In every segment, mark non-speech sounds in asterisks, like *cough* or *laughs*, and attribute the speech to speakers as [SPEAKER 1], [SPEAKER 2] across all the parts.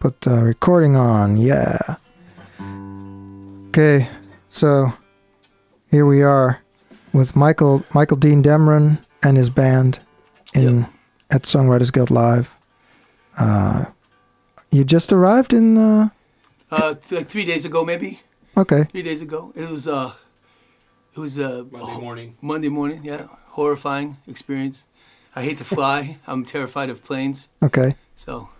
[SPEAKER 1] Put the recording on, yeah. Okay, so here we are with Michael Michael Dean Demron and his band in at Songwriters Guild Live. Uh, you just arrived in. Uh,
[SPEAKER 2] Uh, th- like three days ago, maybe
[SPEAKER 1] okay,
[SPEAKER 2] three days ago. It was uh, it was uh,
[SPEAKER 3] Monday
[SPEAKER 2] ho-
[SPEAKER 3] morning.
[SPEAKER 2] Monday morning, yeah, horrifying experience. I hate to fly. *laughs* I'm terrified of planes.
[SPEAKER 1] okay.
[SPEAKER 2] So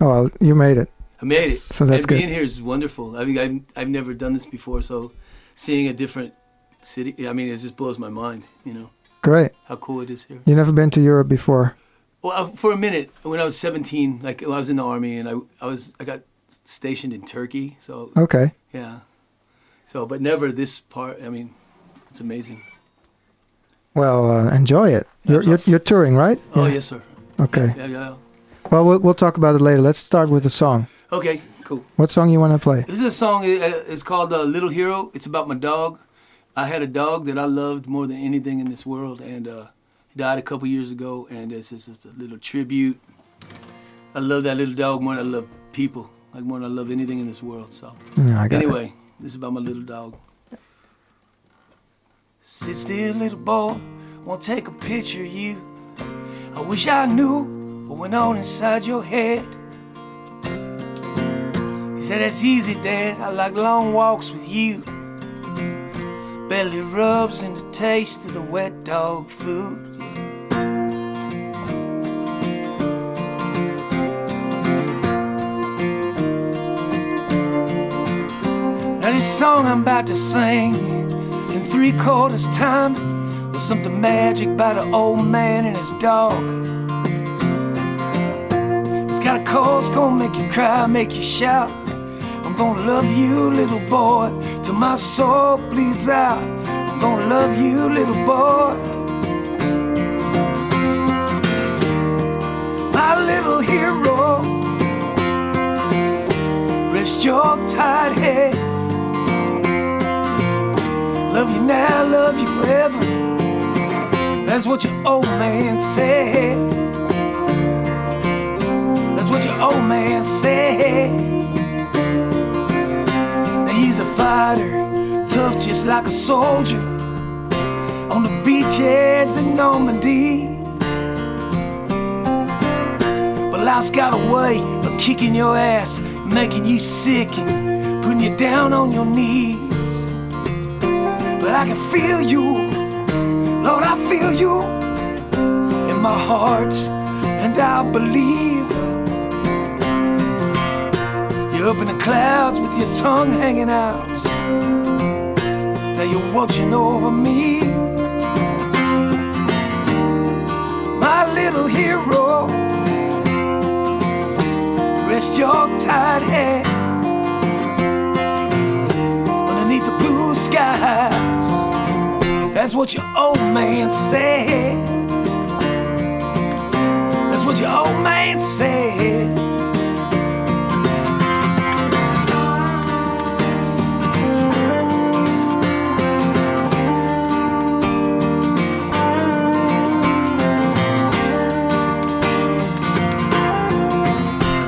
[SPEAKER 1] Oh, well, you made it.
[SPEAKER 2] I made it.
[SPEAKER 1] So that's
[SPEAKER 2] and
[SPEAKER 1] good.
[SPEAKER 2] Being here is wonderful. I mean, I've, I've never done this before, so seeing a different city, I mean, it just blows my mind. You know
[SPEAKER 1] Great.
[SPEAKER 2] how cool it is here.
[SPEAKER 1] You never been to Europe before.
[SPEAKER 2] Well, I- for a minute, when I was 17, like when I was in the army, and I, I was, I got stationed in Turkey. So
[SPEAKER 1] Okay.
[SPEAKER 2] yeah, so but never this part. I mean, it's amazing.
[SPEAKER 1] Well, uh, enjoy it. You're, you're you're touring, right?
[SPEAKER 2] Oh
[SPEAKER 1] Yeah.
[SPEAKER 2] yes, sir.
[SPEAKER 1] Okay.
[SPEAKER 2] Yeah, yeah.
[SPEAKER 1] Well, we'll we'll talk about it later. Let's start with the song.
[SPEAKER 2] Okay, cool.
[SPEAKER 1] What song you want to play?
[SPEAKER 2] This is a song. uh, It's called uh, "Little Hero." It's about my dog. I had a dog that I loved more than anything in this world, and uh, he died a couple years ago. And it's just, it's a little tribute. I love that little dog more than I love people, like more than I love anything in this world. So.
[SPEAKER 1] Mm, I got it.
[SPEAKER 2] anyway, this is about my little dog. Sit still, little boy. Won't take a picture of you. I wish I knew what went on inside your head. He said, That's easy, Dad. I like long walks with you. Belly rubs and the taste of the wet dog food. Now this song I'm about to sing in three quarters time. There's something magic about an old man and his dog. It's got a chorus gonna make you cry, make you shout. I'm gonna love you, little boy, till my soul bleeds out. I'm gonna love you, little boy. My little hero, rest your tired head. Love you now, love you forever. That's what your old man said. That's what your old man said. Now he's a fighter, tough just like a soldier. On the beaches in Normandy. But life's got a way of kicking your ass, making you sick, and putting you down on your knees but I can feel you. Lord, I feel you in my heart, and I believe. You're up in the clouds with your tongue hanging out. Now you're watching over me. My little hero, rest your tired head underneath the blue skies. That's what your old man said. That's what your old man said.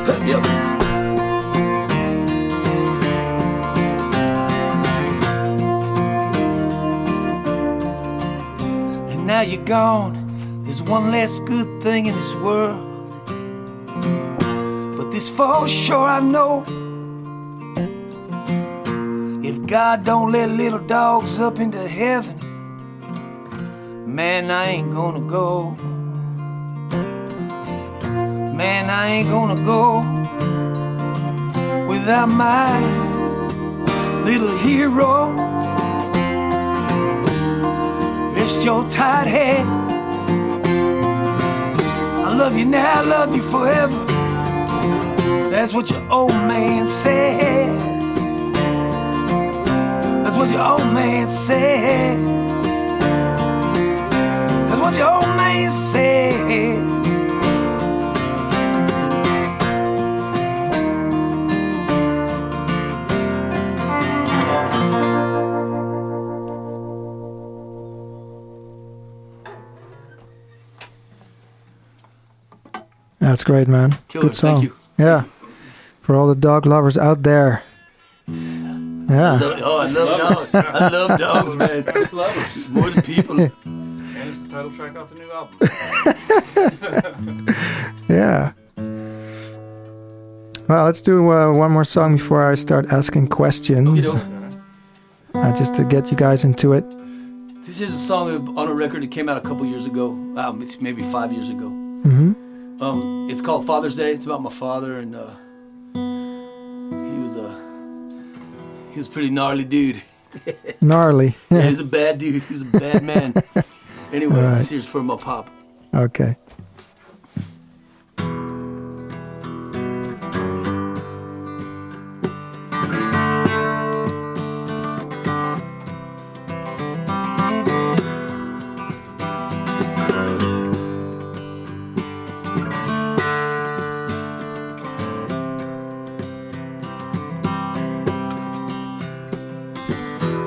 [SPEAKER 2] Yep. and now you're gone. There's one less good thing in this world. But this for sure I know. If God don't let little dogs up into heaven, man, I ain't gonna go. Man, I ain't gonna go without my little hero. Rest your tired head. I love you now, I love you forever. That's what your old man said. That's what your old man said. That's what your old man said.
[SPEAKER 1] That's great, man.
[SPEAKER 2] Killer,
[SPEAKER 1] Good song.
[SPEAKER 2] thank you.
[SPEAKER 1] Yeah. for all the dog lovers out there. Yeah.
[SPEAKER 2] Lo- Oh, I love dogs. I love dogs, man.
[SPEAKER 3] Just lovers.
[SPEAKER 2] More than people.
[SPEAKER 3] And it's the title track off the new album.
[SPEAKER 1] Yeah. Well, let's do uh, one more song before I start asking questions, uh, just to get you guys into it.
[SPEAKER 2] This is a song on a record that came out a couple years ago. Um, it's maybe five years ago.
[SPEAKER 1] hmm
[SPEAKER 2] Um, it's called Father's Day. It's about my father, and uh, he was a he was a pretty gnarly dude.
[SPEAKER 1] Gnarly.
[SPEAKER 2] Yeah, he's a bad dude. He's a bad man.
[SPEAKER 1] *laughs*
[SPEAKER 2] anyway,
[SPEAKER 1] All right.
[SPEAKER 2] this here's for my pop.
[SPEAKER 1] Okay.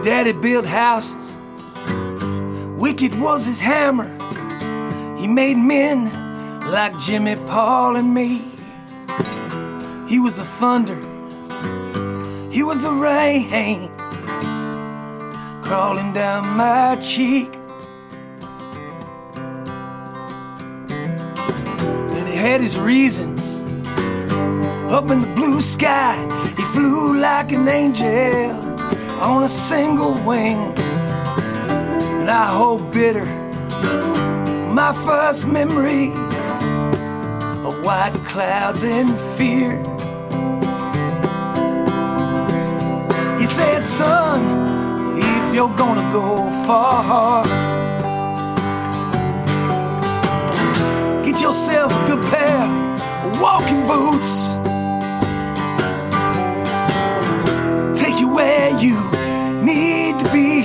[SPEAKER 2] Daddy built houses. Wicked was his hammer. He made men like Jimmy, Paul, and me. He was the thunder. He was the rain crawling down my cheek. And he had his reasons. Up in the blue sky, he flew like an angel on a single wing. And I hold bitter my first memory of white clouds and fear. He said, Son, if you're gonna go far, get yourself a good pair of walking boots. take you where you need to be.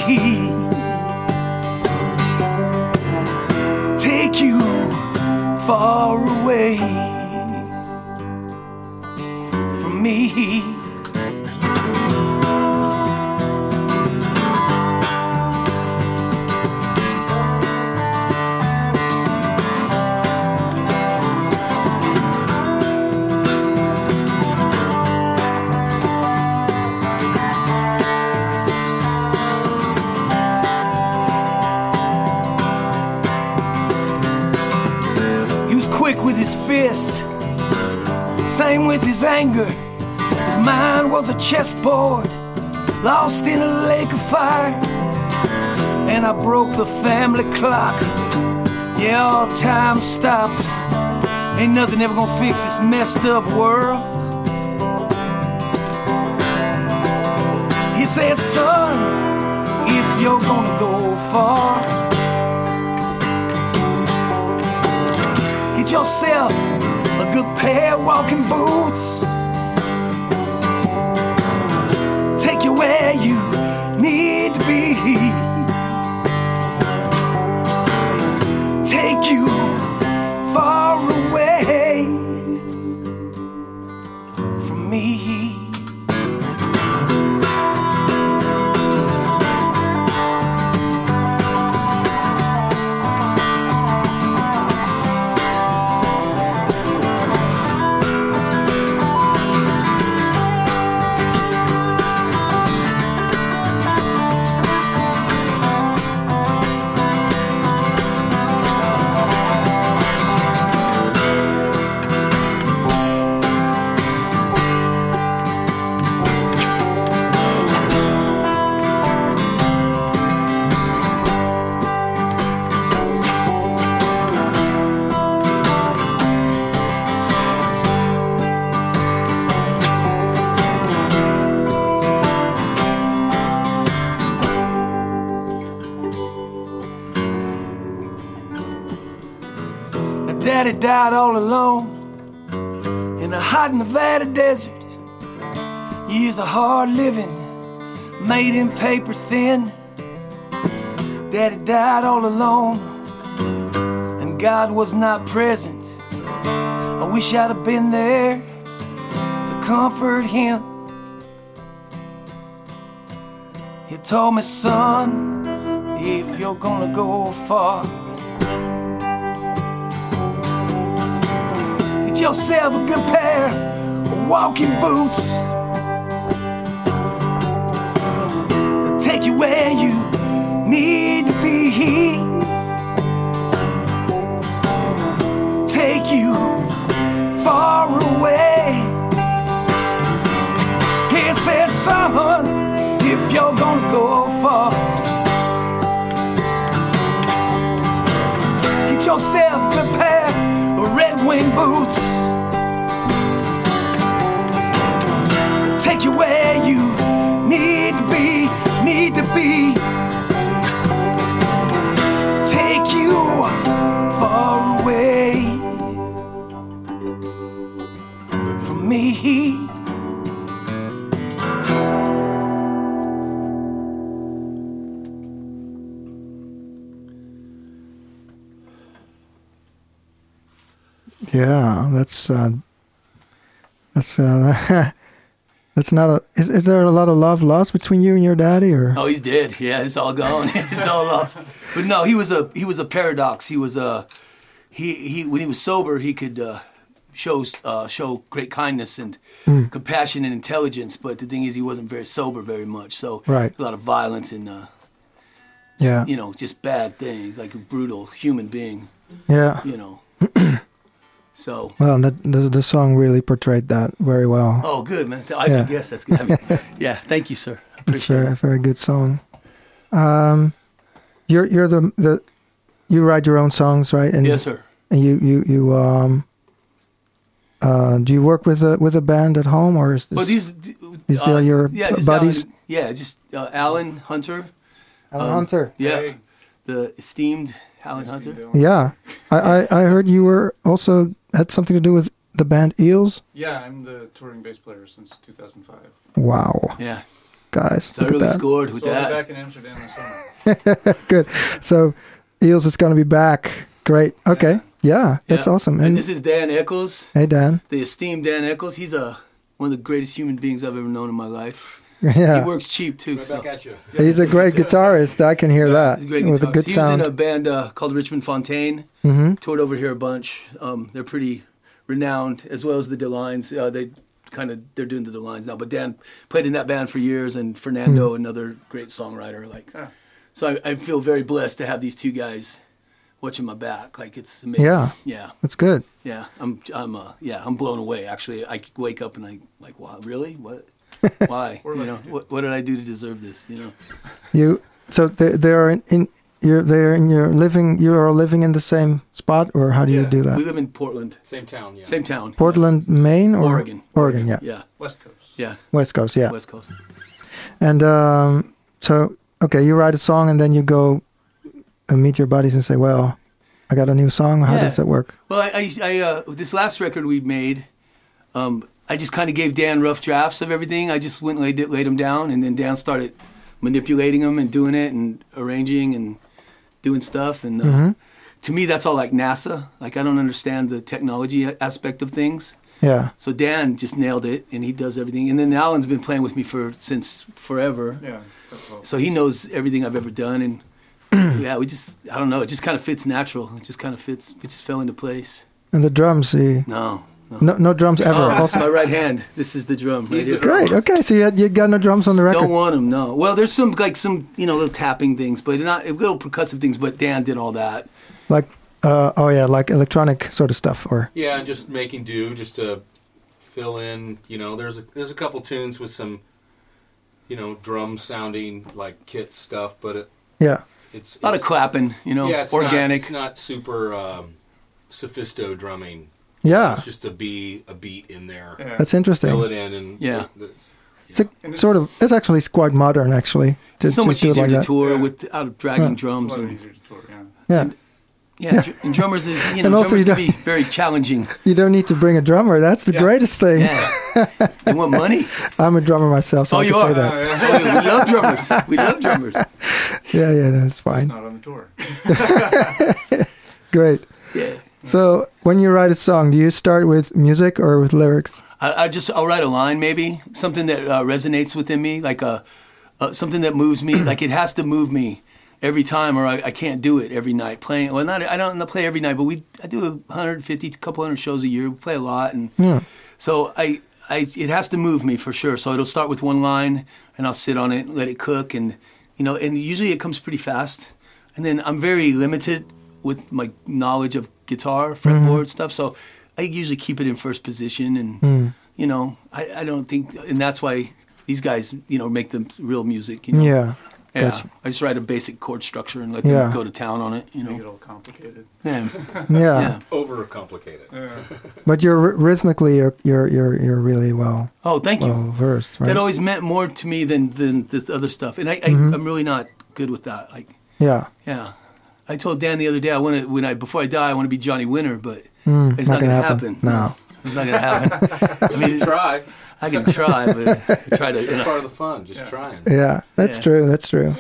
[SPEAKER 2] Take you far away from me. He was quick with his fist, same with his anger. His mind was a chessboard, lost in a lake of fire. And I broke the family clock. Yeah, all time stopped. Ain't nothing ever gonna fix this messed up world. He said, son, if you're gonna go far, Get yourself a good pair of walking boots. Take you where you need to be. Take you far away from me. My daddy died all alone in a hot Nevada desert. Years of hard living, made in paper thin. Daddy died all alone, and God was not present. I wish I'd have been there to comfort him. He told me, son, if you're gonna go far, Get yourself a good pair of walking boots. They'll take you where you need to be. Take you far away. He says, son, if you're gonna go far, get yourself a pair of red wing boots. Take you where you need to be, need to be. Take you far away from me.
[SPEAKER 1] Yeah, that's uh, that's uh, *laughs* that's not a. Is, is there a lot of love lost between you and your daddy, or
[SPEAKER 2] Oh, he's dead. Yeah, it's all gone. *laughs* it's all lost. But no, he was a he was a paradox. He was a he he when he was sober, he could uh, show uh, show great kindness and
[SPEAKER 1] Hmm.
[SPEAKER 2] compassion and intelligence. But the thing is, he wasn't very sober very much. So
[SPEAKER 1] Right.
[SPEAKER 2] a lot of violence and uh,
[SPEAKER 1] yeah,
[SPEAKER 2] you know just bad things like a brutal human being.
[SPEAKER 1] yeah? *clears throat*
[SPEAKER 2] You know. so
[SPEAKER 1] Well, and that, the the song really portrayed that very well.
[SPEAKER 2] oh, good man. I
[SPEAKER 1] Yeah.
[SPEAKER 2] guess that's good. I mean, yeah, thank you, sir. I
[SPEAKER 1] it's
[SPEAKER 2] Appreciate
[SPEAKER 1] very
[SPEAKER 2] it.
[SPEAKER 1] a very good song. Um, you're you're the the you write your own songs, right? And
[SPEAKER 2] Yes, sir.
[SPEAKER 1] And you you you um. Uh, do you work with a with a band at home, or is this?
[SPEAKER 2] Well, these uh,
[SPEAKER 1] These are your
[SPEAKER 2] yeah, just
[SPEAKER 1] buddies?
[SPEAKER 2] Alan- yeah, just uh, Alan Hunter. um,
[SPEAKER 1] Alan Hunter.
[SPEAKER 2] Yeah,
[SPEAKER 3] Hey.
[SPEAKER 2] the esteemed Alan Hunter.
[SPEAKER 1] Yeah, I, I I heard you were also had something to do with the band Eels.
[SPEAKER 3] Yeah, I'm the touring bass player since 2005.
[SPEAKER 1] Wow,
[SPEAKER 2] Yeah,
[SPEAKER 1] guys,
[SPEAKER 2] so I
[SPEAKER 1] look at
[SPEAKER 2] really
[SPEAKER 1] that.
[SPEAKER 2] scored with
[SPEAKER 3] so I'll be
[SPEAKER 2] that.
[SPEAKER 3] back in Amsterdam this summer.
[SPEAKER 1] Good. So Eels is going to be back. Great. Okay. Yeah, that's
[SPEAKER 2] Yeah.
[SPEAKER 1] awesome.
[SPEAKER 2] And
[SPEAKER 1] And
[SPEAKER 2] this is Dan Eccles,
[SPEAKER 1] hey, Dan. *laughs*
[SPEAKER 2] the esteemed Dan Eccles. He's a one of the greatest human beings I've ever known in my life. He
[SPEAKER 1] Yeah,
[SPEAKER 2] works cheap too. so-
[SPEAKER 4] Back at you.
[SPEAKER 1] he's a great guitarist. I can hear that
[SPEAKER 2] He's a great
[SPEAKER 1] Uh, with a
[SPEAKER 2] guitarist.
[SPEAKER 1] good
[SPEAKER 2] he
[SPEAKER 1] sound.
[SPEAKER 2] was in a band uh, called Richmond Fontaine.
[SPEAKER 1] hmm
[SPEAKER 2] toured over here a bunch. Um, they're pretty renowned, as well as the Delines. Uh, they kind of they're doing the Delines now, but Dan played in that band for years, and
[SPEAKER 1] Hmm.
[SPEAKER 2] Fernando, another great songwriter. Like,
[SPEAKER 3] Huh.
[SPEAKER 2] so I, I feel very blessed to have these two guys watching my back. Like, it's amazing.
[SPEAKER 1] Yeah.
[SPEAKER 2] yeah,
[SPEAKER 1] That's good.
[SPEAKER 2] yeah. I'm I'm uh, yeah I'm blown away. Actually, I wake up and I like, wow, really? What? Why? you know, what, what did I do to deserve this? You know.
[SPEAKER 1] You so they they are in, in you're they are in your living. You are living in the same spot, or how do you
[SPEAKER 3] Yeah.
[SPEAKER 1] do
[SPEAKER 2] We
[SPEAKER 1] that?
[SPEAKER 2] live in Portland,
[SPEAKER 4] Same town, yeah.
[SPEAKER 2] same town.
[SPEAKER 1] Portland, Maine, or
[SPEAKER 2] Oregon.
[SPEAKER 1] Oregon, yeah.
[SPEAKER 2] Yeah,
[SPEAKER 3] West Coast.
[SPEAKER 2] yeah,
[SPEAKER 1] West Coast, yeah.
[SPEAKER 2] West Coast.
[SPEAKER 1] And um, so, okay, you write a song and then you go and meet your buddies and say, "Well, I got a new song. How
[SPEAKER 2] Yeah.
[SPEAKER 1] does that work?"
[SPEAKER 2] Well, I, I, I uh, this last record we made, um, I just kind of gave Dan rough drafts of everything. I just went and laid, it- laid them down, and then Dan started manipulating them and doing it and arranging and doing stuff. And uh,
[SPEAKER 1] Mm-hmm.
[SPEAKER 2] to me, that's all like NASA. Like I don't understand the technology a- aspect of things.
[SPEAKER 1] Yeah,
[SPEAKER 2] So Dan just nailed it, and he does everything. And then Alan's been playing with me for since forever,
[SPEAKER 3] Yeah. that's all.
[SPEAKER 2] so he knows everything I've ever done. And yeah, we just I don't know. It just kind of fits natural. It just kind of fits. It just fell into place.
[SPEAKER 1] and the drums. You,
[SPEAKER 2] No, no.
[SPEAKER 1] no, no drums ever.
[SPEAKER 2] Oh, that's *laughs*
[SPEAKER 1] Also-
[SPEAKER 2] my right hand. This is the drum. Right here.
[SPEAKER 1] Great. Okay, so you, had, you got no drums on the
[SPEAKER 2] Don't
[SPEAKER 1] record.
[SPEAKER 2] want him. No. Well, there's some like some you know little tapping things, but not little percussive things. But Dan did all that.
[SPEAKER 1] Like, uh, oh yeah, like electronic sort of stuff. Or
[SPEAKER 4] Yeah, and just making do, just to fill in. You know, there's a there's a couple tunes with some, you know, drum sounding like kit stuff, but it,
[SPEAKER 1] yeah,
[SPEAKER 4] it's
[SPEAKER 2] A lot
[SPEAKER 4] it's-
[SPEAKER 2] of clapping. You know,
[SPEAKER 4] Yeah, it's Not,
[SPEAKER 2] organic.
[SPEAKER 4] it's not super um, sophisto drumming.
[SPEAKER 1] yeah,
[SPEAKER 4] It's just to be a beat in there,
[SPEAKER 3] Yeah.
[SPEAKER 1] that's interesting.
[SPEAKER 4] fill it in, and
[SPEAKER 2] Yeah.
[SPEAKER 4] it's-
[SPEAKER 1] It's a,
[SPEAKER 3] And
[SPEAKER 1] sort of.
[SPEAKER 3] it's-
[SPEAKER 1] It's actually quite modern, actually. To,
[SPEAKER 2] It's so
[SPEAKER 1] to
[SPEAKER 2] much
[SPEAKER 1] do it
[SPEAKER 2] easier
[SPEAKER 1] like
[SPEAKER 2] to
[SPEAKER 1] that.
[SPEAKER 2] tour
[SPEAKER 3] Yeah.
[SPEAKER 2] without dragging
[SPEAKER 1] Yeah.
[SPEAKER 3] It's
[SPEAKER 2] drums
[SPEAKER 3] a lot
[SPEAKER 2] and
[SPEAKER 3] easier to tour, yeah.
[SPEAKER 1] Yeah,
[SPEAKER 2] yeah, dr- and drummers is you know
[SPEAKER 1] And also
[SPEAKER 2] drummers
[SPEAKER 1] you
[SPEAKER 2] can be very challenging.
[SPEAKER 1] *laughs* you don't need to bring a drummer. That's the
[SPEAKER 3] Yeah.
[SPEAKER 1] greatest thing.
[SPEAKER 2] Yeah, you want money?
[SPEAKER 1] I'm a drummer myself, *laughs* so
[SPEAKER 2] oh,
[SPEAKER 1] I
[SPEAKER 2] you
[SPEAKER 1] can
[SPEAKER 2] are.
[SPEAKER 1] say that.
[SPEAKER 2] Oh, yeah, we love drummers. We love
[SPEAKER 1] *laughs*
[SPEAKER 2] drummers.
[SPEAKER 1] Yeah, yeah, that's
[SPEAKER 3] It's
[SPEAKER 1] fine.
[SPEAKER 3] not on the tour.
[SPEAKER 1] Great.
[SPEAKER 2] Yeah.
[SPEAKER 1] So when you write a song, do you start with music or with lyrics?
[SPEAKER 2] I, I just I'll write a line maybe something that uh, resonates within me, like a uh, something that moves me. like it has to move me every time, or I, I can't do it every night. Playing well, not I don't play every night, but we I do a 150, couple hundred shows a year. We play a lot, and so I I, it has to move me for sure. So it'll start with one line, and I'll sit on it, let it cook, and you know, and usually it comes pretty fast. And then I'm very limited with my knowledge of guitar, fretboard stuff, so I usually keep it in first position, and
[SPEAKER 1] Mm-hmm. Hmm.
[SPEAKER 2] you know, I, I don't think, and that's why these guys, you know, make the real music. You know?
[SPEAKER 1] Yeah.
[SPEAKER 2] Yeah,
[SPEAKER 1] Gotcha.
[SPEAKER 2] I just write a basic chord structure and let
[SPEAKER 1] Yeah.
[SPEAKER 2] them go to town on it. You
[SPEAKER 3] Make it
[SPEAKER 2] know,
[SPEAKER 3] all complicated. Uh,
[SPEAKER 2] yeah,
[SPEAKER 1] *laughs* Yeah.
[SPEAKER 2] *laughs* yeah.
[SPEAKER 4] Overcomplicated. *laughs*
[SPEAKER 3] Yeah.
[SPEAKER 1] But you're r- rhythmically you're you're you're, you're really well
[SPEAKER 2] Oh, thank you.
[SPEAKER 1] well versed, right?
[SPEAKER 2] That always meant more to me than than this other stuff, and I, I
[SPEAKER 1] Mm-hmm.
[SPEAKER 2] I'm really not good with that. Like,
[SPEAKER 1] yeah.
[SPEAKER 2] yeah, I told Dan the other day I want to when I before I die I want to be Johnny Winter, but
[SPEAKER 1] Mm,
[SPEAKER 2] it's not, gonna happen.
[SPEAKER 1] No.
[SPEAKER 2] it's not gonna happen. I mean,
[SPEAKER 4] Try.
[SPEAKER 2] I can try, but I try to. You
[SPEAKER 4] *laughs* It's
[SPEAKER 2] know.
[SPEAKER 4] part of the fun. Just trying.
[SPEAKER 1] Yeah, that's
[SPEAKER 2] Yeah.
[SPEAKER 1] true. That's true.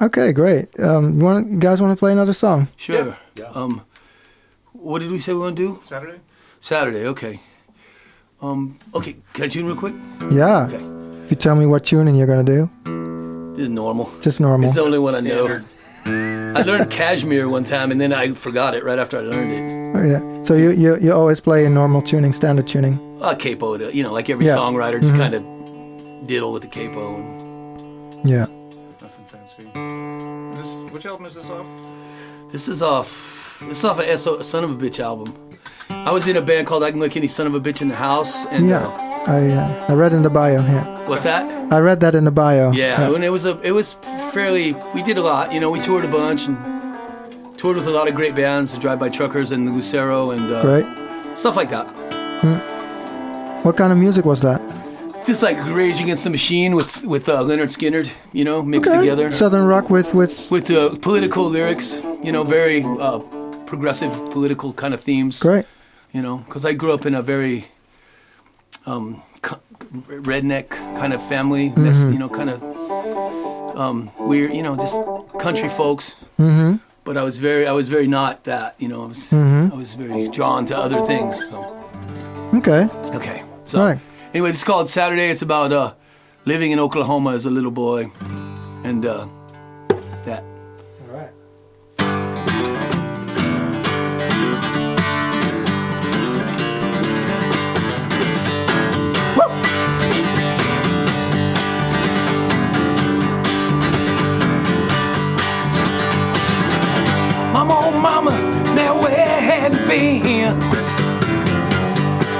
[SPEAKER 1] Okay, great. Um, you, want, you guys want to play another song?
[SPEAKER 2] Sure.
[SPEAKER 4] Yeah.
[SPEAKER 2] Um, what did we say we want to do?
[SPEAKER 3] Saturday?
[SPEAKER 2] Saturday. Okay. Um. Okay. Can I tune real quick?
[SPEAKER 1] Yeah.
[SPEAKER 2] Okay.
[SPEAKER 1] If you tell me what tuning you're gonna do,
[SPEAKER 2] This is normal.
[SPEAKER 1] just normal.
[SPEAKER 2] It's the only one I know. *laughs* I learned Kashmir one time, and then I forgot it right after I learned it.
[SPEAKER 1] Oh, yeah. So you, you you always play in normal tuning, standard tuning.
[SPEAKER 2] I Uh, capo it, you know, like every
[SPEAKER 1] Yeah. Mm-hmm.
[SPEAKER 2] songwriter, just kind of diddle with the capo. And
[SPEAKER 1] Yeah.
[SPEAKER 3] Nothing fancy. This, which album is this off?
[SPEAKER 2] this is off. This is off a SO, son of a bitch album. I was in a band called I Can Look Any Son of a Bitch in the House, and
[SPEAKER 1] Yeah.
[SPEAKER 2] uh,
[SPEAKER 1] I uh, I read in the bio. Yeah.
[SPEAKER 2] what's that?
[SPEAKER 1] I read that in the bio.
[SPEAKER 2] Yeah,
[SPEAKER 1] *laughs*
[SPEAKER 2] and it was a, it was fairly. We did a lot, you know. We toured a bunch and toured with a lot of great bands, the Drive By Truckers and the Lucero and uh,
[SPEAKER 1] Great.
[SPEAKER 2] stuff like that.
[SPEAKER 1] What kind of music was that?
[SPEAKER 2] just like Rage Against the Machine with with uh, Leonard Skinner, you know, mixed together
[SPEAKER 1] Southern rock with with
[SPEAKER 2] with uh, political lyrics, you know, very uh, progressive political kind of themes,
[SPEAKER 1] great.
[SPEAKER 2] you know, because I grew up in a very um, co- redneck kind of family, that's, you know, kind of um, weird, you know, just country folks. Mm-hmm. But I was very, I was very not that, you know. I was, I was very drawn to other things. So.
[SPEAKER 1] Okay. *laughs*
[SPEAKER 2] Okay, so.
[SPEAKER 1] Right.
[SPEAKER 2] Anyway, it's called Saturday. It's about uh, living in Oklahoma as a little boy, and uh, that.
[SPEAKER 1] All right.
[SPEAKER 2] My old mama never had been.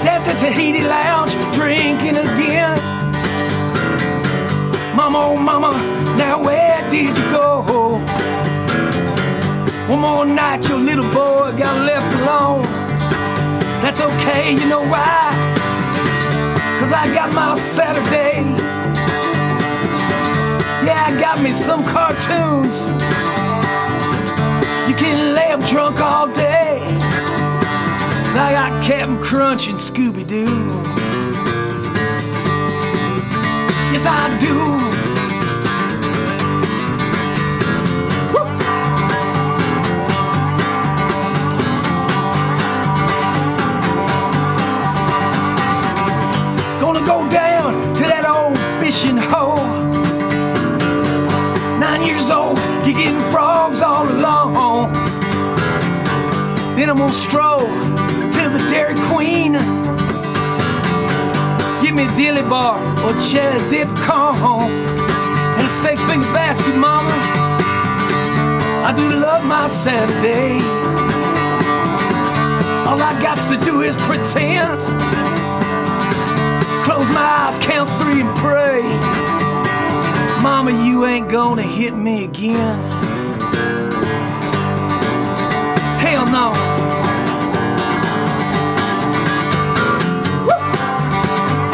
[SPEAKER 2] Left the Tahiti lounge drinking again. Mama, oh mama, now where did you go? One more night, your little boy got left alone. That's okay, you know why? Cause I got my Saturday. Yeah, I got me some cartoons. You can lay up drunk all day. 'Cause I got Captain Crunch and Scooby Doo. Yes, I do. Woo! Gonna go down to that old fishing hole. Nine years old, you're getting frogs all along. Then I'm gonna stroll to the Dairy Queen. Give me a dilly bar or cheddar dip corn and a steak finger basket, mama. I do love my Saturday. All I got to do is pretend. Close my eyes, count three, and pray. Mama, you ain't gonna hit me again. Hell no. Woo!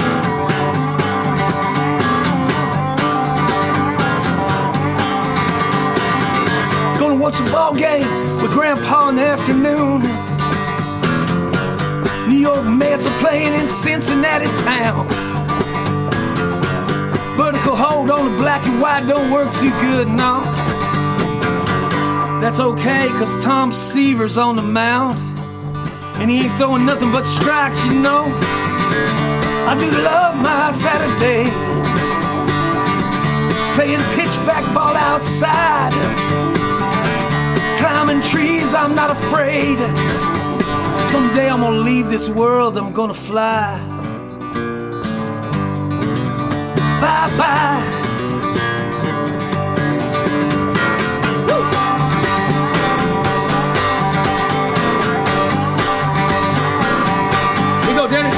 [SPEAKER 2] Gonna watch the ball game with Grandpa in the afternoon. New York Mets are playing in Cincinnati town. Vertical hold on the black and white don't work too good, no. That's okay, cause Tom Seaver's on the mound. And he ain't throwing nothing but strikes, you know. I do love my Saturday. Playing pitchback ball outside. Climbing trees, I'm not afraid. Someday I'm gonna leave this world, I'm gonna fly. by. Here you go, Dennis.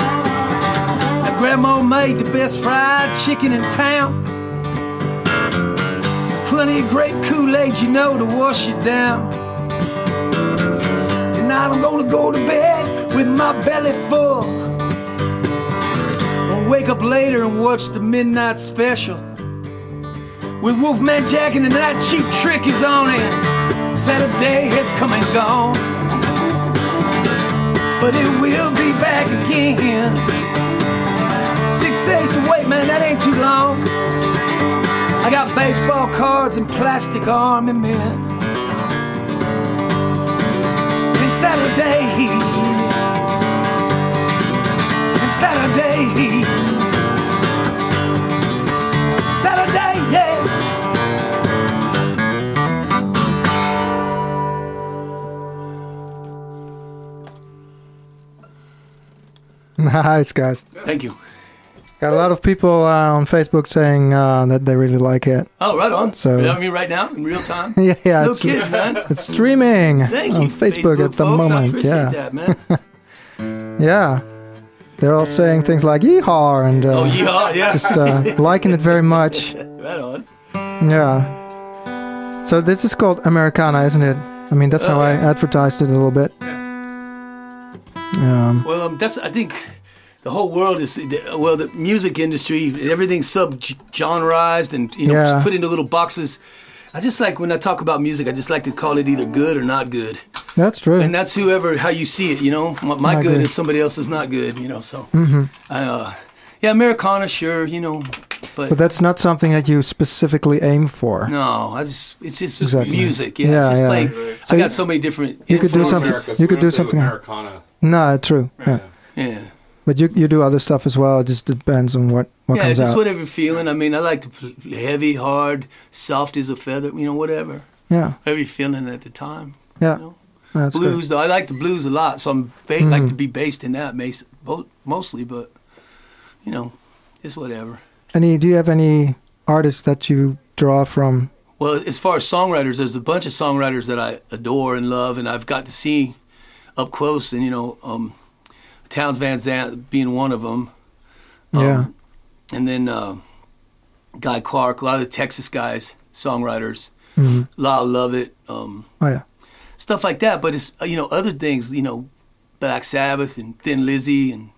[SPEAKER 2] Now, Grandma made the best fried chicken in town. Plenty of great Kool Aid, you know, to wash it down. Tonight I'm gonna go to bed with my belly full. I'll wake up later and watch the midnight special. With Wolfman Jack and the Night Cheap Trick is on it. Saturday has come and gone. But it will be back again. Six days to wait, man, that ain't too long. I got baseball cards and plastic armament. And Saturday, and Saturday, Saturday, yeah.
[SPEAKER 1] Nice, guys.
[SPEAKER 2] Thank you.
[SPEAKER 1] Got a lot of people uh, on Facebook saying uh, that they really like it. *laughs*
[SPEAKER 2] Oh, right on.
[SPEAKER 1] So-
[SPEAKER 2] So, you know me right now in real time.
[SPEAKER 1] yeah, yeah.
[SPEAKER 2] No
[SPEAKER 1] It's,
[SPEAKER 2] kid, man.
[SPEAKER 1] it's streaming
[SPEAKER 2] Thank
[SPEAKER 1] on
[SPEAKER 2] you,
[SPEAKER 1] Facebook, at the
[SPEAKER 2] folks. I
[SPEAKER 1] moment.
[SPEAKER 2] appreciate
[SPEAKER 1] Yeah,
[SPEAKER 2] that, man.
[SPEAKER 1] yeah. They're all saying things like "yeehaw" and uh,
[SPEAKER 2] Oh, yeah, yeah.
[SPEAKER 1] just uh, liking it very much.
[SPEAKER 2] Right on.
[SPEAKER 1] Yeah. So this is called Americana, isn't it? I mean, that's
[SPEAKER 2] Oh,
[SPEAKER 1] how I advertised it a little bit. Um,
[SPEAKER 2] Well, um, that's I think the whole world is the- well, the music industry, everything's sub-genreized and you know
[SPEAKER 1] Yeah.
[SPEAKER 2] just put into little boxes. I just like when I talk about music, I just like to call it either good or not good,
[SPEAKER 1] that's true.
[SPEAKER 2] and uh, that's whoever how you see it. You know, my, my
[SPEAKER 1] Not
[SPEAKER 2] good,
[SPEAKER 1] good. Mm-hmm.
[SPEAKER 2] is somebody else's not good. You know, so I, uh, yeah, Americana, sure, you know, but.
[SPEAKER 1] but that's not something that you specifically aim for.
[SPEAKER 2] no, I just it's just
[SPEAKER 1] Exactly.
[SPEAKER 2] music. Yeah,
[SPEAKER 1] Yeah,
[SPEAKER 2] it's just
[SPEAKER 1] yeah.
[SPEAKER 2] playing.
[SPEAKER 1] So
[SPEAKER 2] I
[SPEAKER 1] you-
[SPEAKER 2] got so many different.
[SPEAKER 1] you could do
[SPEAKER 2] influences.
[SPEAKER 1] something-
[SPEAKER 4] America, so
[SPEAKER 1] you
[SPEAKER 4] we
[SPEAKER 1] could
[SPEAKER 4] don't
[SPEAKER 1] do
[SPEAKER 4] say
[SPEAKER 1] something-
[SPEAKER 4] Americana.
[SPEAKER 1] No, true. Yeah.
[SPEAKER 2] Yeah.
[SPEAKER 1] But you you do other stuff as well. It just depends on what what
[SPEAKER 2] yeah,
[SPEAKER 1] comes
[SPEAKER 2] just
[SPEAKER 1] out.
[SPEAKER 2] whatever you're feeling. I mean, I like to pl- heavy, hard, soft as a feather. You know, whatever,
[SPEAKER 1] yeah,
[SPEAKER 2] whatever you're feeling at the time.
[SPEAKER 1] yeah.
[SPEAKER 2] know?
[SPEAKER 1] That's good. Mm-hmm.
[SPEAKER 2] blues, though, I like the blues a lot, so I'm ba- like to be based in that mas- bo- mostly. But you know, just whatever.
[SPEAKER 1] Any? Do you have any artists that you draw from?
[SPEAKER 2] Well, as far as songwriters, there's a bunch of songwriters that I adore and love, and I've got to see up close, and you know, um, Towns Van Zandt being one of them. Um,
[SPEAKER 1] yeah,
[SPEAKER 2] and then uh, Guy Clark, a lot of the Texas guys, songwriters,
[SPEAKER 1] Mhm.
[SPEAKER 2] a lot of love it, um,
[SPEAKER 1] oh yeah,
[SPEAKER 2] stuff like that. But it's uh, you know other things, you know, Black Sabbath and Thin Lizzy and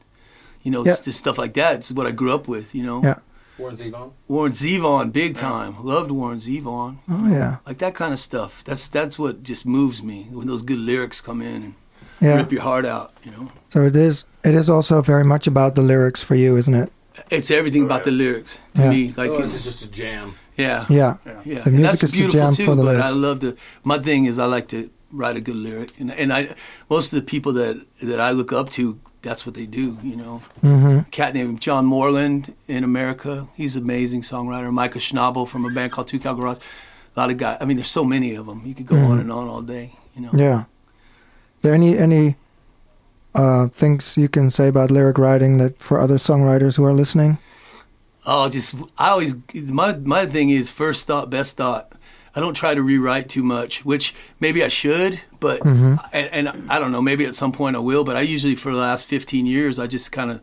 [SPEAKER 2] you know
[SPEAKER 1] Yeah.
[SPEAKER 2] s- just stuff like that. It's what I grew up with, you know.
[SPEAKER 1] yeah,
[SPEAKER 4] Warren Zevon.
[SPEAKER 2] Warren Zevon, big time, loved Warren Zevon,
[SPEAKER 1] oh yeah,
[SPEAKER 2] like that kind of stuff. That's that's what just moves me when those good lyrics come in and
[SPEAKER 1] yeah.
[SPEAKER 2] rip your heart out, you know.
[SPEAKER 1] So it is. It is also very much about the lyrics for you, isn't it?
[SPEAKER 2] It's everything about the lyrics to
[SPEAKER 1] Yeah.
[SPEAKER 2] me, like you know,
[SPEAKER 4] Otherwise, it's Oh, just a jam.
[SPEAKER 2] yeah.
[SPEAKER 1] Yeah,
[SPEAKER 2] Yeah,
[SPEAKER 1] The
[SPEAKER 2] and
[SPEAKER 1] music
[SPEAKER 2] that's
[SPEAKER 1] is to
[SPEAKER 2] beautiful
[SPEAKER 1] jam
[SPEAKER 2] too.
[SPEAKER 1] for the
[SPEAKER 2] but
[SPEAKER 1] lyrics.
[SPEAKER 2] I love to. My thing is, I like to write a good lyric, and, and I most of the people that that I look up to, that's what they do. You know,
[SPEAKER 1] hmm
[SPEAKER 2] a cat named John Moreland in America, he's an amazing songwriter. Micah Schnabel from a band called Two Cow Garage. A lot of guys. I mean, there's so many of them. You could go on and on all day. You know.
[SPEAKER 1] Mm-hmm. Yeah. there any any uh, things you can say about lyric writing that for other songwriters who are listening?
[SPEAKER 2] Oh, just I always my my thing is first thought, best thought. I don't try to rewrite too much, which maybe I should, but
[SPEAKER 1] Mm-hmm.
[SPEAKER 2] and, and I don't know. Maybe at some point I will, but I usually for the last fifteen years I just kind of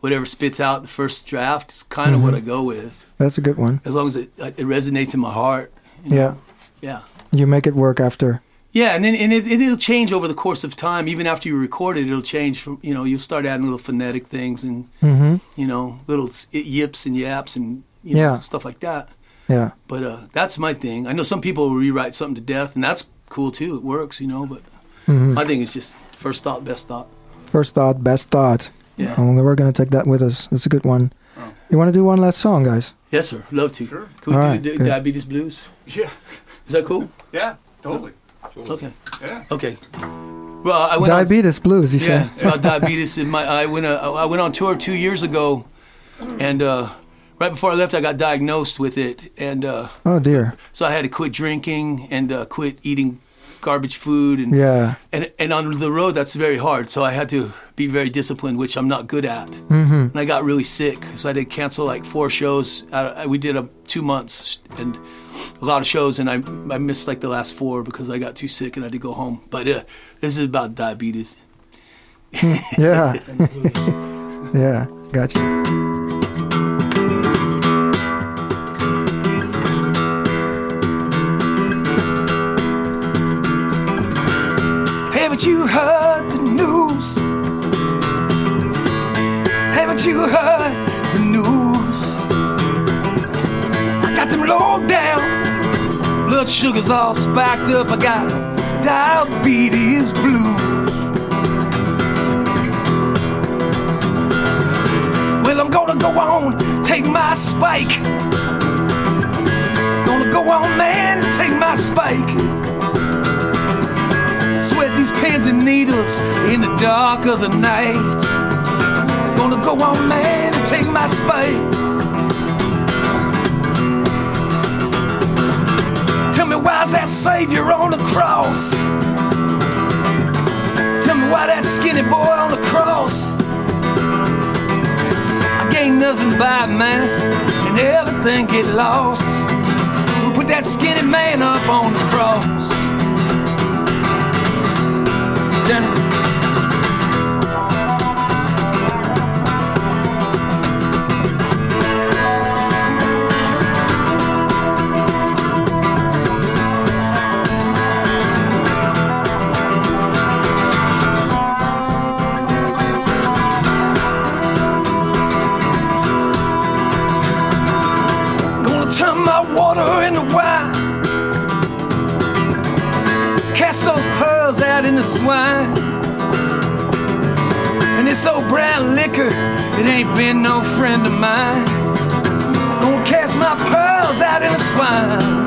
[SPEAKER 2] whatever spits out the first draft is kind of
[SPEAKER 1] Mm-hmm.
[SPEAKER 2] what I go with,
[SPEAKER 1] That's a good one.
[SPEAKER 2] as long as it it resonates in my heart. you know?
[SPEAKER 1] Yeah,
[SPEAKER 2] yeah.
[SPEAKER 1] you make it work after.
[SPEAKER 2] Yeah, and then and it, it'll change over the course of time. Even after you record it, it'll change. From you know, you'll start adding little phonetic things and
[SPEAKER 1] hmm
[SPEAKER 2] you know little s- yips and yaps and you
[SPEAKER 1] Yeah.
[SPEAKER 2] know, stuff like that.
[SPEAKER 1] Yeah,
[SPEAKER 2] But uh, that's my thing. I know some people will rewrite something to death, and that's cool too. It works, you know. But
[SPEAKER 1] Mm-hmm.
[SPEAKER 2] my thing is just first thought, best thought.
[SPEAKER 1] first thought, best thought.
[SPEAKER 2] Yeah.
[SPEAKER 5] Oh.
[SPEAKER 1] And we're gonna take that with us. It's a good one. You want to do one last song, guys?
[SPEAKER 5] Yes, sir. Love to.
[SPEAKER 3] Sure.
[SPEAKER 5] Can we
[SPEAKER 1] All
[SPEAKER 5] do
[SPEAKER 1] right,
[SPEAKER 5] the
[SPEAKER 1] good.
[SPEAKER 5] diabetes blues?
[SPEAKER 3] Yeah.
[SPEAKER 5] Is that cool?
[SPEAKER 3] Yeah. Totally.
[SPEAKER 5] Okay.
[SPEAKER 3] Yeah.
[SPEAKER 5] Okay. Well, I went. on-
[SPEAKER 1] Diabetes blues, you
[SPEAKER 5] yeah,
[SPEAKER 1] say?
[SPEAKER 5] it's about diabetes. In my, I went. Uh, I went on tour two years ago, and uh, right before I left, I got diagnosed with it, and uh,
[SPEAKER 1] Oh dear.
[SPEAKER 5] so I had to quit drinking and uh, quit eating garbage food and *laughs*
[SPEAKER 1] Yeah.
[SPEAKER 5] and and on the road that's very hard so i had to be very disciplined which i'm not good at mm-hmm. and i got really sick so i did cancel like four shows I, I, we did a, two months and a lot of shows and I, I missed like the last four because i got too sick and i had to go home but uh, this is about diabetes
[SPEAKER 1] Yeah. yeah. Gotcha.
[SPEAKER 2] Haven't you heard the news? Haven't you heard the news? I got them low down. Blood sugar's all spiked up. I got diabetes blue. Well, I'm gonna go on, take my spike. Gonna go on, man, and take my spike. Sweat these pins and needles in the dark of the night. Gonna go on, man, and take my spike. Tell me why's that savior on the cross? Tell me why that skinny boy on the cross? I gain nothing by it, man, and everything get lost. Who put that skinny man up on the cross? Then Gonna turn my water into wine. Cast those pearls out in the swine. And this old brown liquor, it ain't been no friend of mine. Gonna cast my pearls out in the swine.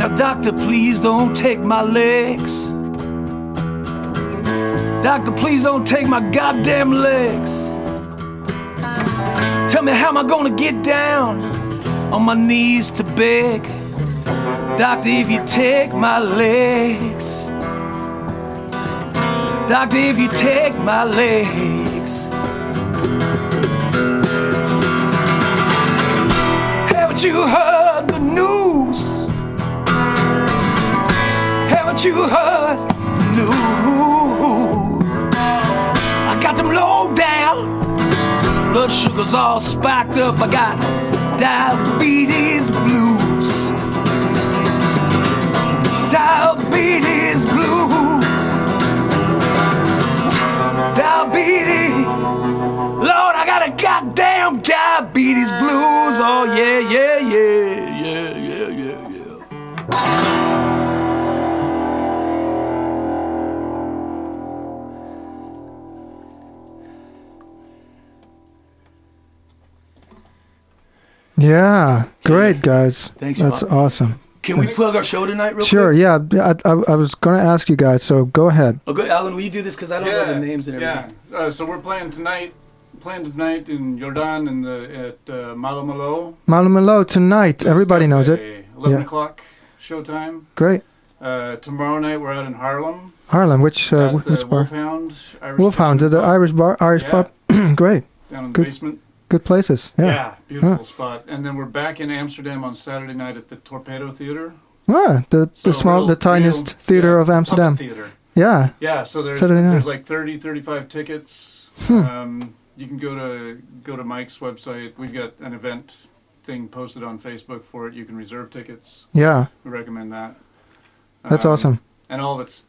[SPEAKER 2] Now, doctor, please don't take my legs. Doctor, please don't take my goddamn legs. Tell me how am I gonna get down on my knees to beg? Doctor, if you take my legs. Doctor, if you take my legs. Haven't you heard the news? Haven't you heard the news? I got them low down. Blood sugar's all spiked up. I got diabetes blues. Diabetes blues. Diabetes. Lord, I got a goddamn diabetes blues. Oh, yeah, yeah, yeah, yeah, yeah, yeah, yeah.
[SPEAKER 1] Yeah. Great guys.
[SPEAKER 5] Thanks,
[SPEAKER 1] That's
[SPEAKER 5] Bob.
[SPEAKER 1] awesome.
[SPEAKER 5] can we plug our show tonight real
[SPEAKER 1] Sure.
[SPEAKER 5] quick
[SPEAKER 1] Yeah. I, I, I was going to ask you guys, so go ahead.
[SPEAKER 5] oh good alan will you do this because i don't know the names and everything
[SPEAKER 3] Yeah. Uh, so we're playing tonight. Playing tonight in Jordan in the at uh, Malo Malo.
[SPEAKER 1] Malumelo tonight. Everybody knows it.
[SPEAKER 3] Eleven
[SPEAKER 1] Yeah.
[SPEAKER 3] o'clock showtime.
[SPEAKER 1] Great.
[SPEAKER 3] Uh, tomorrow night we're out in Harlem
[SPEAKER 1] Harlem, which uh,
[SPEAKER 3] at
[SPEAKER 1] wh-
[SPEAKER 3] the
[SPEAKER 1] which bar?
[SPEAKER 3] Wolfhound. Irish
[SPEAKER 1] Wolfhound, the
[SPEAKER 3] Kitchen Pub
[SPEAKER 1] Irish bar, Irish
[SPEAKER 3] Yeah.
[SPEAKER 1] pub. *clears throat* Great.
[SPEAKER 3] down in the
[SPEAKER 1] Good.
[SPEAKER 3] basement.
[SPEAKER 1] Good places.
[SPEAKER 3] Yeah,
[SPEAKER 1] Yeah.
[SPEAKER 3] beautiful
[SPEAKER 1] Huh.
[SPEAKER 3] spot. And then we're back in Amsterdam on Saturday night at the Torpedo Theater.
[SPEAKER 1] Ah, the
[SPEAKER 3] So
[SPEAKER 1] the small,
[SPEAKER 3] real-
[SPEAKER 1] the tiniest
[SPEAKER 3] real-
[SPEAKER 1] theater
[SPEAKER 3] yeah,
[SPEAKER 1] of Amsterdam.
[SPEAKER 3] puppet Theater.
[SPEAKER 1] Yeah.
[SPEAKER 3] Yeah, so there's
[SPEAKER 1] Saturday night.
[SPEAKER 3] there's like 30, 35 tickets.
[SPEAKER 1] Hmm.
[SPEAKER 3] Um, you can go to go to Mike's website. We've got an event thing posted on Facebook for it. You can reserve tickets.
[SPEAKER 1] Yeah.
[SPEAKER 3] We recommend that.
[SPEAKER 1] That's
[SPEAKER 3] Um,
[SPEAKER 1] awesome.
[SPEAKER 3] And all of it's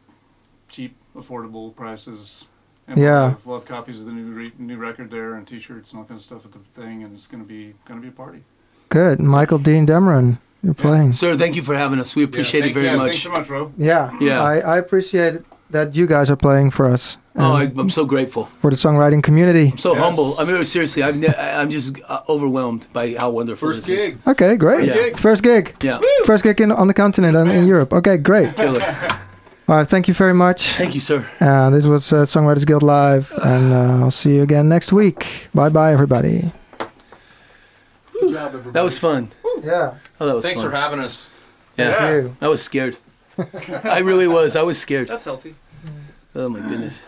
[SPEAKER 3] cheap, affordable prices. And
[SPEAKER 1] Yeah.
[SPEAKER 3] We'll have, we'll have copies of the new re- new record there and T-shirts and all kind of stuff at the thing. And it's gonna be gonna be a party.
[SPEAKER 1] Good. Michael Dean Demron, you're playing.
[SPEAKER 5] sir thank you for having us we appreciate
[SPEAKER 3] Yeah,
[SPEAKER 5] it
[SPEAKER 3] thank-
[SPEAKER 5] very
[SPEAKER 3] yeah,
[SPEAKER 5] much
[SPEAKER 3] Thanks so much, Ro.
[SPEAKER 1] Yeah.
[SPEAKER 5] Yeah.
[SPEAKER 1] I, I appreciate that you guys are playing for us
[SPEAKER 2] Oh, I,
[SPEAKER 1] and
[SPEAKER 2] I'm so grateful.
[SPEAKER 1] for the songwriting community.
[SPEAKER 2] So
[SPEAKER 4] Yeah.
[SPEAKER 2] humble. I mean, seriously, I've ne- I- I'm just uh, overwhelmed by how wonderful
[SPEAKER 4] First
[SPEAKER 2] this is.
[SPEAKER 4] gig.
[SPEAKER 1] Okay, great.
[SPEAKER 2] First gig.
[SPEAKER 1] First gig.
[SPEAKER 2] Yeah.
[SPEAKER 1] First gig in, on the continent and in Europe. Okay, great.
[SPEAKER 2] Killer.
[SPEAKER 1] All right, thank you very much.
[SPEAKER 2] Thank you, sir.
[SPEAKER 1] Uh, this was uh, Songwriters Guild Live, and uh, I'll see you again next week. Bye bye, everybody.
[SPEAKER 4] Good job, everybody.
[SPEAKER 2] That was fun.
[SPEAKER 1] Yeah.
[SPEAKER 2] Oh, that was
[SPEAKER 4] Thanks
[SPEAKER 2] fun.
[SPEAKER 4] for having us.
[SPEAKER 2] yeah.
[SPEAKER 6] Yeah.
[SPEAKER 2] I was scared. I really was. I was scared.
[SPEAKER 7] That's healthy.
[SPEAKER 2] Oh my goodness.